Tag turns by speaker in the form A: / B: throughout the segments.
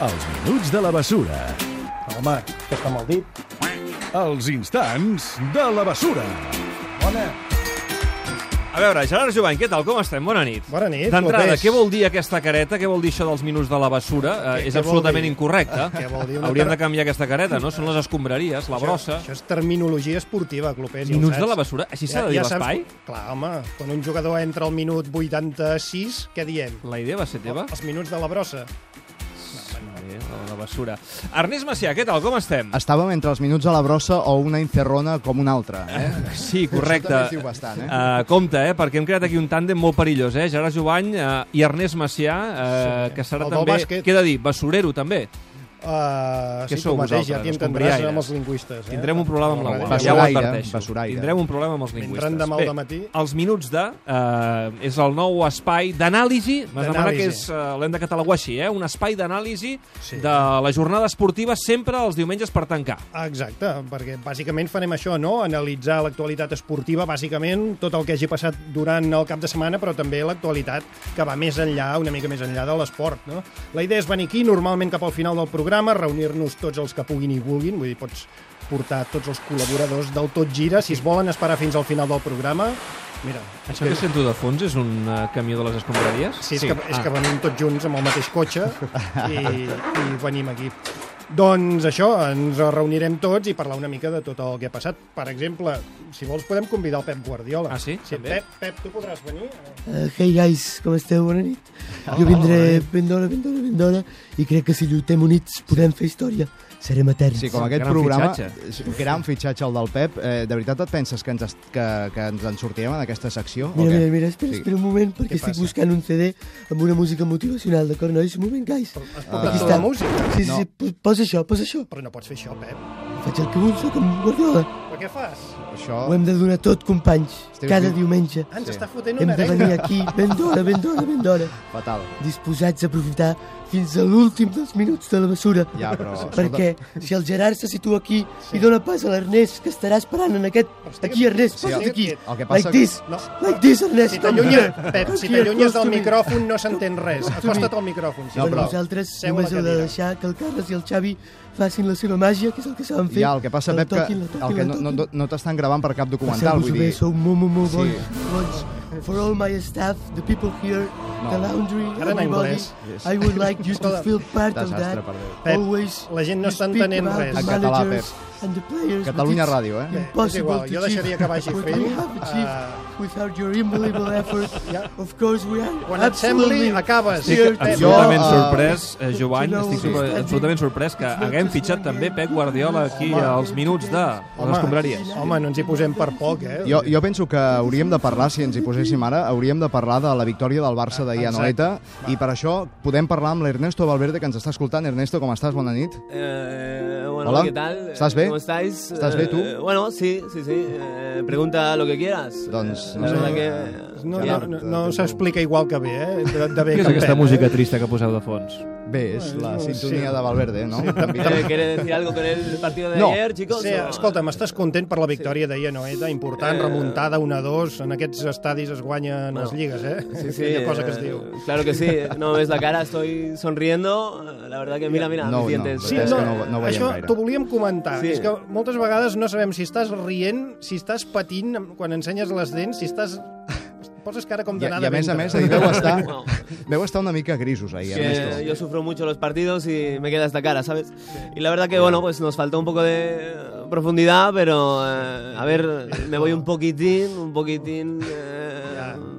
A: Els minuts de la bessura.
B: Home, que està mal dit.
A: Els instants de la bessura.
B: Bona.
C: A veure, Gerard Jovany, què tal? Com estem? Bona nit.
B: Bona nit,
C: D'entrada,
B: López.
C: què vol dir aquesta careta? Què vol dir això dels minuts de la bessura?
B: Què-
C: Eh, és
B: què vol
C: absolutament
B: dir?
C: incorrecte.
B: Què vol dir? Una
C: Hauríem
B: tar-
C: de canviar aquesta careta, no? Són les escombraries, la brossa...
B: Això és terminologia esportiva, Clopés, ja ho
C: Minuts
B: saps.
C: de la bessura? Així s'ha de dir
B: saps-
C: l'espai?
B: Clar, home, quan un jugador entra al minut 86, què diem?
C: La idea va ser teva?
B: Els minuts de la brossa.
C: Bé, la- la bessura. Ernest Macià, què tal? Com
B: Ah,
C: estem?
D: Estàvem entre els minuts a la brossa o una inferrona com una altra. Eh?
C: Sí,
D: Això
C: correcte.
D: també es diu bastant, eh?
C: Uh, compte, eh? Perquè hem creat aquí un tàndem molt perillós, eh? Gerard Jovany uh, i Ernest Macià, uh, que serà
B: El del
C: també...
B: bàsquet.
C: Què he de dir? Bessurero, també.
B: Uh, sí,
C: Què sou
B: tu mateix,
C: vosaltres,
B: ja t'hi
C: els
B: entendràs
C: combriaires?
B: amb els lingüistes. Eh?
C: Tindrem un problema amb la UAM. Ja ho
D: Basuraire,
C: adverteixo.
D: basuraire.
C: Tindrem un problema amb els lingüistes.
B: Vindran demà al dematí.
C: Els minuts de... Eh, és el nou espai d'anàlisi. M'has demanat
B: D'anàlisi.
C: que és... Eh, L'hem de catalogar així, eh? Un espai d'anàlisi
B: Sí.
C: de la jornada esportiva sempre els diumenges per tancar.
B: Exacte, perquè bàsicament farem això, no? Analitzar l'actualitat esportiva, bàsicament tot el que hagi passat durant el cap de setmana, però també l'actualitat que va més enllà, una mica més enllà de l'esport, no? La idea és venir aquí normalment cap al final del programa, reunir-nos tots els que puguin i vulguin, vull dir, pots portar tots els col·laboradors del Tot Gira, si es volen esperar fins al final del programa, mira,
C: Això que sento de fons és un eh, camió de les escombraries?
B: Sí, és, sí. Que, és
C: Ah.
B: que venim tots junts amb el mateix cotxe i, i venim aquí. Doncs això, ens reunirem tots i parlar una mica de tot el que ha passat. Per exemple, si vols podem convidar el Pep Guardiola.
C: Ah, sí?
B: sí
C: També.
B: Pep, Pep, tu podràs venir?
E: Eh, Hey guys, com esteu? Bona nit. jo vindré ben d'hora, ben d'hora, ben d'hora i crec que si lluitem units podem fer història. Serem eterns.
D: Sí, com aquest
C: gran
D: programa,
C: fitxatge.
D: és un gran fitxatge el del Pep. Eh, de veritat et penses que ens, est- que, que ens en sortirem en aquesta secció?
E: Mira,
D: o què?
E: mira, mira, espera,
D: Sí.
E: espera un moment, perquè estic
B: passa?
E: buscant un CD amb una música motivacional, d'acord, nois? Un moment,
B: Es
E: guys.
D: Eh,
B: pot uh, la música?
E: Sí, sí,
D: No.
E: sí, po- posa això, posa això.
B: Però no pots fer això, Pep.
E: Faig el que vull, soc amb guardiola.
B: Però què fas?
D: Això...
E: Ho hem de donar tot, companys,
D: Estem
E: cada
D: fent-
E: diumenge.
B: Ah, ens
D: Sí.
B: està fotent
E: Hem
B: una
E: de venir aquí ben d'hora, ben d'hora, ben d'hora,
D: Fatal.
E: disposats a aprofitar fins a l'últim dels minuts de la mesura.
D: Ja, però...
E: Perquè si el Gerard se situa aquí i dona pas a l'Ernest, que estarà esperant en aquest...
B: estic-
E: Aquí, Ernest,
B: Sí,
E: posa't
B: el-
E: aquí.
D: el que passa
E: Like this,
B: No.
E: like this, Ernest.
B: Si t'allunyes,
E: Come
B: Pep, si
E: here,
B: t'allunyes
E: close to
B: del
E: me.
B: micròfon no s'entén res. Acosta't al micròfon,
D: No, però-
E: Bueno,
B: sisplau.
E: vosaltres
B: Seu a la
E: només heu de
B: cadira.
E: deixar que el Carles i el Xavi facin la seva màgia, que és el que saben fer.
D: Ja, el que passa, Pep, que,
E: toquin, la toquin,
D: el que
E: la
D: no, no,
E: toquin.
D: no- no t'estan gravant per cap documental,
E: Passeu-vos-ho
D: vull
E: bé,
D: dir...
E: sou molt, molt, molt
D: Sí.
E: bons. bons. For all my staff, the people here, the laundry,
B: Ara en
E: everybody,
B: anglès.
E: I would like you to
B: Escolta,
E: feel part of
D: desastre,
E: that.
D: per Déu.
B: Pep,
E: Always
B: la gent no
E: you
B: està
E: speak
B: entenent
E: about
B: res.
E: the
D: En català,
E: managers and the players, but
D: Catalunya
E: it's
D: Ràdio, eh? Bé,
B: és
E: Impossible
B: igual,
E: to
B: jo deixaria
E: achieve
B: que vagi
E: what
B: fent,
E: we have achieved
B: eh,
E: without your unbelievable effort.
B: Ja.
E: Of course we are
B: Quan et sembli,
E: absolutely
B: acabes.
E: here to
D: Jo,
C: Ah, absolutament
D: eh,
C: sorprès, eh, Jovany,
E: no,
C: estic
E: sí.
C: super, absolutament sorprès que haguem fitxat també Pep Guardiola aquí
E: Home.
C: als minuts de les escombraries.
B: Home, no ens hi posem per poc, eh?
D: Jo, jo penso que hauríem de parlar, si ens hi poséssim ara, hauríem de parlar de la victòria del Barça d'ahir a Noeta, i per això podem parlar amb l'Ernesto Valverde, que ens està escoltant. Ernesto, com estàs? Bona nit.
F: Eh, bueno,
D: Hola. ¿Eh?
F: ¿qué tal?
D: ¿Estás bien?
F: ¿Cómo estáis?
D: ¿Estás bien tú?
F: Eh, bueno, sí, sí, sí. Eh, pregunta lo que quieras.
D: Doncs,
F: Eh,
D: no
F: la
D: sé.
F: verdad que...
B: No,
F: ya.
B: no, no, no s'explica igual que bé, eh? De, de bé
C: Què
B: que
C: és aquesta
B: perd,
C: música
B: Eh?
C: trista que poseu de fons?
D: Bé, és la
B: Sí.
D: sintonia de Valverde, no?
F: Eh, ¿Quiere decir algo con el partido de
D: No.
F: ayer, chicos?
B: Sí,
F: No.
B: escolta'm, estàs content per la victòria d'ahir, no? Eta important, remuntada 1-2. En aquests estadis es guanyen les lligues, eh?
F: Sí, sí,
B: Aquella cosa que es
F: eh,
B: diu.
F: Claro que sí. No ves la cara, estoy sonriendo. Eh, La verdad que mira, mira,
D: No,
F: mis
D: no,
F: dientes.
D: Sí,
F: Eh,
D: és que no- no ho veiem
B: això
D: gaire.
B: t'ho volíem comentar.
F: Sí.
B: És que moltes vegades no sabem si estàs rient, si estàs patint amb- quan ensenyes les dents, si estàs... Poses cara com
D: I,
B: de
D: a-
B: nada
D: I a més a
B: dintre.
D: més, ahir veu estar,
F: Wow.
D: veu estar una mica grisos ahir,
G: eh,
F: que
D: Ernesto.
F: yo sufro mucho los partidos y me queda esta cara, ¿sabes? Y la verdad que, bueno, pues nos faltó un poco de eh, profundidad, pero eh, a ver, me voy un poquitín, un poquitín... eh,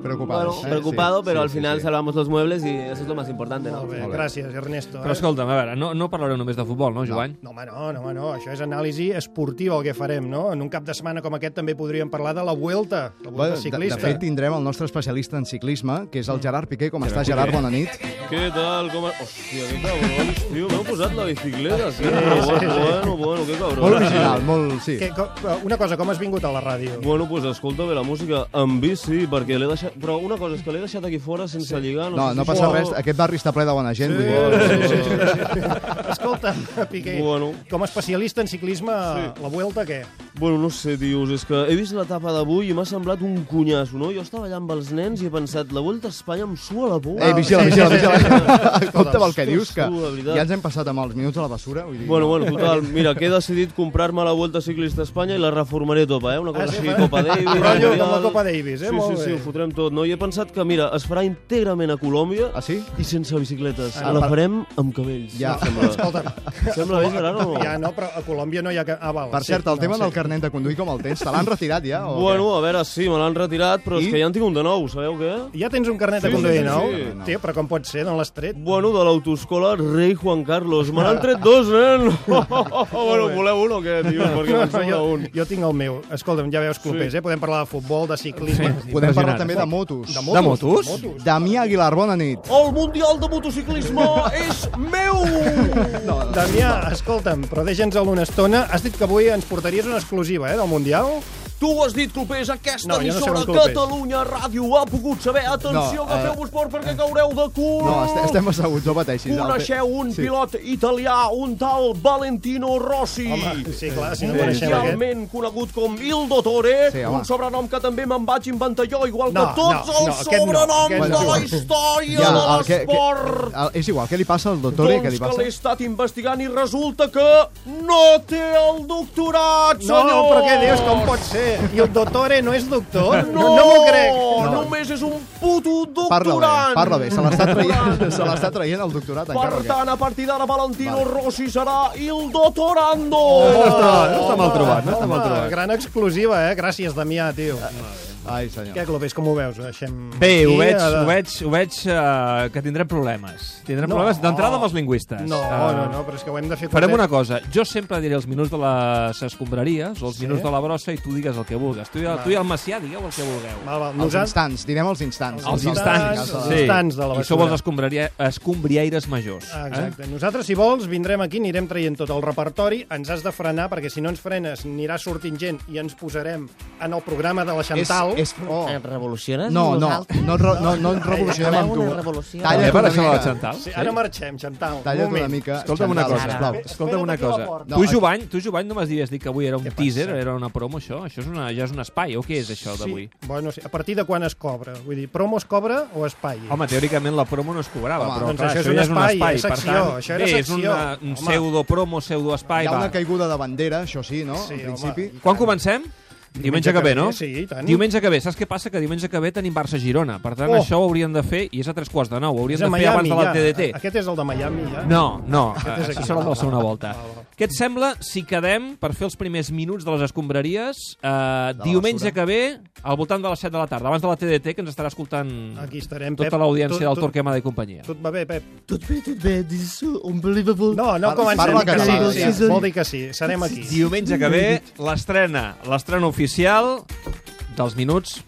D: preocupados,
F: bueno,
D: ¿eh?
F: preocupado,
D: Sí,
F: pero
D: sí,
F: al
D: sí,
F: final
D: sí.
F: salvamos los muebles y eso es lo más importante, ¿no?
B: Molt bé,
D: Molt bé.
B: gràcies, Ernesto.
C: Però escolta'm, a veure, no, no parlareu només de futbol, no, Jovany?
B: No, home, no, no, home, no. Això és anàlisi esportiva el que farem, no? En un cap de setmana com aquest també podríem parlar de la Vuelta, la Vuelta
D: Bueno,
B: bueno,
D: de, de
B: ciclista.
D: fet, tindrem el nostre especialista en ciclisme, que és el Gerard Piqué. Com està, Gerard? Bona nit.
G: Què tal? Com... a- Hòstia, que cabrons, tio. M'heu posat la bicicleta, tio.
B: sí,
G: Però
B: sí.
G: bueno, bueno, bueno, que cabrons.
D: Molt original, molt... Sí.
B: que, co- eh, una cosa, com has vingut a la ràdio?
G: Bueno, doncs pues escolta bé la música en bici, perquè l'he deixat... Però una cosa és que l'he deixat aquí fora sense lligar... No,
D: No,
G: sé
D: no
G: si
D: passa
G: això-
D: res. Aquest barri està ple de bona gent. Vull dir,
G: Bueno, bueno.
B: Escolta, Piqué,
G: Bueno.
B: com a especialista en ciclisme, la Vuelta què?
G: Bueno, no sé, dius, és que he vist la tapa d'avui i m'ha semblat un cunyasso, no? Jo estava allà amb els nens i he pensat, la Volta a Espanya em sua la por.
D: Ei, vigila,
B: sí,
D: vigila,
B: sí, sí,
D: vigila. Compte amb el que
G: Ostres,
D: dius, que
G: tu, de veritat.
D: ja ens hem passat amb els minuts a la bessura. Vull dir,
G: Bueno, bueno, total, mira, que he decidit comprar-me la Vuelta Ciclista a Espanya i la reformaré topa, eh? Una cosa
B: Ah, sí,
G: així,
B: fa-
G: Copa Davis...
B: Rotllo com la
G: Mundial.
B: Copa Davis, eh?
G: Sí,
B: Molt
G: sí, sí,
B: bé.
G: ho fotrem tot, no? I he pensat que, mira, es farà íntegrament a Colòmbia
D: Ah, sí?
G: i sense bicicletes.
D: Ah,
G: la
D: per-
G: farem amb cabells.
D: Ja.
G: em Sembla,
B: Escolta'm,
G: sembla bé, Gerard, o no?
B: ja no, però a Colòmbia no hi ha... ca- Ah, val,
D: Per
B: sí,
D: cert, el
B: no,
D: tema
B: sí.
D: del carnet de conduir com el tens, te l'han retirat ja? O
G: Bueno, a veure, sí, me l'han retirat, però
D: I?
G: és que ja en tinc un de nou, sabeu què?
B: Ja tens un carnet de
G: Sí,
B: conduir
G: sí, sí,
B: nou?
G: sí.
B: Tio, però com pot ser? No l'has tret?
G: Bueno, de l'autoescola Rei Juan Carlos. Me n'han tret dos, nen! bueno, voleu un o què, tio? Perquè me'n sobra
B: jo,
G: un.
B: jo tinc el meu. Escolta'm, ja veus clubers, eh? Podem parlar de futbol, de ciclisme...
D: què? Podem parlar també de motos.
B: De
C: De motos?
B: motos.
D: Damià Aguilar, bona nit.
G: El Mundial de Motociclisme és meu!
B: Damià, escolta'm, però deixa'ns-el una estona. Has dit que avui ens portaries una exclusiva, eh, del Mundial?
G: Tu has dit, clubers, aquesta
B: No, jo no sé
G: emissora
B: on club és.
G: Catalunya Ràdio ho ha pogut saber. Atenció,
D: No,
G: que
D: eh,
G: feu esport perquè caureu de cul!
D: No, est estem asseguts, no pateixis.
G: Coneixeu un
D: Sí.
G: pilot italià, un tal Valentino Rossi.
B: Home, sí, clar, si no coneixem aquest...
G: Mundialment conegut com Il Dottore,
D: Sí, home.
G: un sobrenom que també me'n vaig inventar jo, igual
B: No,
G: que tots
B: no, no,
G: els
B: aquest no,
G: sobrenoms
B: aquest
G: de
B: no.
G: la història
D: Ja,
G: de
D: el que- que-
G: l'esport.
D: el- És igual, què li passa al doctor?
G: Doncs
D: què li
G: que
D: passa?
G: l'he estat investigant i resulta que no té el doctorat,
B: No,
G: senyor!
B: però què dius? Com pot ser? I el doctore no és doctor?
G: No,
B: no m'ho crec.
D: No.
G: només és un puto
D: Parla bé,
G: doctorant.
D: parla bé, se l'està traient,
G: Doctorant.
D: se l'està traient el doctorat encara. o
G: Per
D: què?
G: tant, a partir d'ara, Valentino Rossi serà il doctorando.
B: Oh,
C: No està, no està mal trobat, no està mal
B: Home,
C: trobat.
B: gran exclusiva, eh? Gràcies, Damià, tio.
D: Ai, senyor.
B: Què, Clopés, com ho veus? Ho Deixem...
C: Bé, ho
B: aquí,
C: veig,
B: eh, de-
C: ho veig, ho veig eh, que tindrem problemes. Tindrem
B: No.
C: problemes d'entrada amb els lingüistes.
B: No,
C: Eh,
B: no, no, però és que ho hem de fer...
C: Farem
B: complet.
C: una cosa, jo sempre diré els minuts de les escombraries o els minuts de la brossa i tu digues el que vulguis. Tu, i- tu i el Macià digueu el que vulgueu.
B: Val, val.
D: Els
B: Nosaltres...
D: instants, direm els instants.
C: Els
B: instants,
C: instants,
B: els
C: sí.
B: instants de la
C: I sou
B: bessura.
C: els escombraria- escombriaires majors. eh?
B: Ah, Exacte. Nosaltres, si vols, vindrem aquí, anirem traient tot el repertori, ens has de frenar, perquè si no ens frenes anirà sortint gent i ens posarem en el programa de la
D: És,
B: Xantal.
D: és, oh.
H: Revoluciones?
D: No, no,
H: vosaltres?
D: no, et re- no, no ens revolucionem
H: Voleu
D: amb tu.
H: una revolució?
C: Eh?
D: Talla't
C: Per
D: una
C: això la
D: mica.
C: Chantal.
B: Sí, ara marxem, Xantal.
D: Talla't una
B: moment.
D: mica.
C: Escolta'm una
D: Chantal,
C: cosa.
D: sisplau.
C: Escolta'm
B: Espera't
C: una
B: aquí a
C: cosa.
B: la porta.
C: tu,
D: No,
C: Jovany, tu, Jovany, no m'has dit, has dit que avui era un
B: Què
C: teaser,
B: passa?
C: era una promo, això? Això és una, ja és un espai, o què és això d'avui?
B: Sí, bueno, sí. A partir de quan es cobra? Vull dir, promo es cobra o espai?
C: Home, teòricament la promo no es cobrava,
D: Home,
C: però
B: doncs
C: clar,
B: això és
C: això,
B: un
C: ja és un
B: espai,
C: espai.
B: és
C: per
B: secció,
C: tant,
B: això era
C: bé, és
B: secció.
C: una, un
B: Home.
C: pseudo-promo, pseudo-espai.
D: Hi ha
C: va.
D: una caiguda de bandera, això sí, no?
B: Sí,
D: Al
B: home.
D: principi.
C: Quan comencem? Diumenge que ve, no?
B: Sí, i tant.
C: Diumenge que ve. Saps què passa? Que diumenge que ve tenim Barça-Girona. Per tant,
B: Oh.
C: això ho hauríem de fer, i és a tres quarts de nou, ho hauríem
B: És a
C: de fer
B: Miami,
C: abans de la TDT.
B: ja. Aquest és el de Miami, ja.
C: No, no, Eh,
B: és
C: això
B: aquí.
C: serà la segona volta.
B: Va, va.
C: Què et sembla si quedem per fer els primers minuts de les escombraries eh,
D: la
C: diumenge
D: basura.
C: que ve al voltant de les 7 de la tarda, abans de la TDT, que ens estarà escoltant
B: Aquí estarem, Pep.
C: tota l'audiència
B: Tot-
C: del
B: tot-
C: Torquemada i companyia.
B: Tot va bé, Pep.
E: Tot bé, tot bé, this is so unbelievable.
B: No, no
D: Parla-
B: comencem. Dir
D: parla
B: que
D: català,
B: sí,
D: sí.
B: sí. Vol dir que sí, serem aquí.
C: Diumenge que ve, l'estrena, l'estrena oficial dels minuts,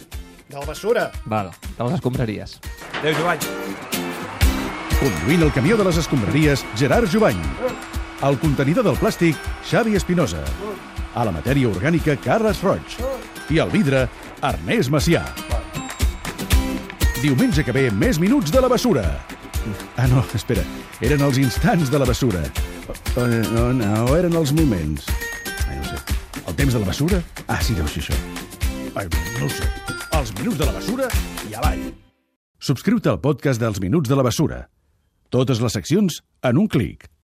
B: Del Bessura.
C: val, de les escombraries. Adéu, Jovany.
A: Conduint el camió de les escombraries, Gerard Jubany. El contenidor del plàstic, Xavi Espinosa. A la matèria orgànica, Carles Roig. I al vidre, Ernest Macià. Diumenge que ve, més minuts de la bessura. Ah, no, espera. Eren els instants de la bessura. O, no, no, eren els moments. Ai, no ho sé. El temps de la bessura? Ah, sí, deu ser això. Ai, no ho sé. Els minuts de la bessura i avall. Subscriu-te al podcast dels Minuts de la Bessura. Totes les seccions en un clic.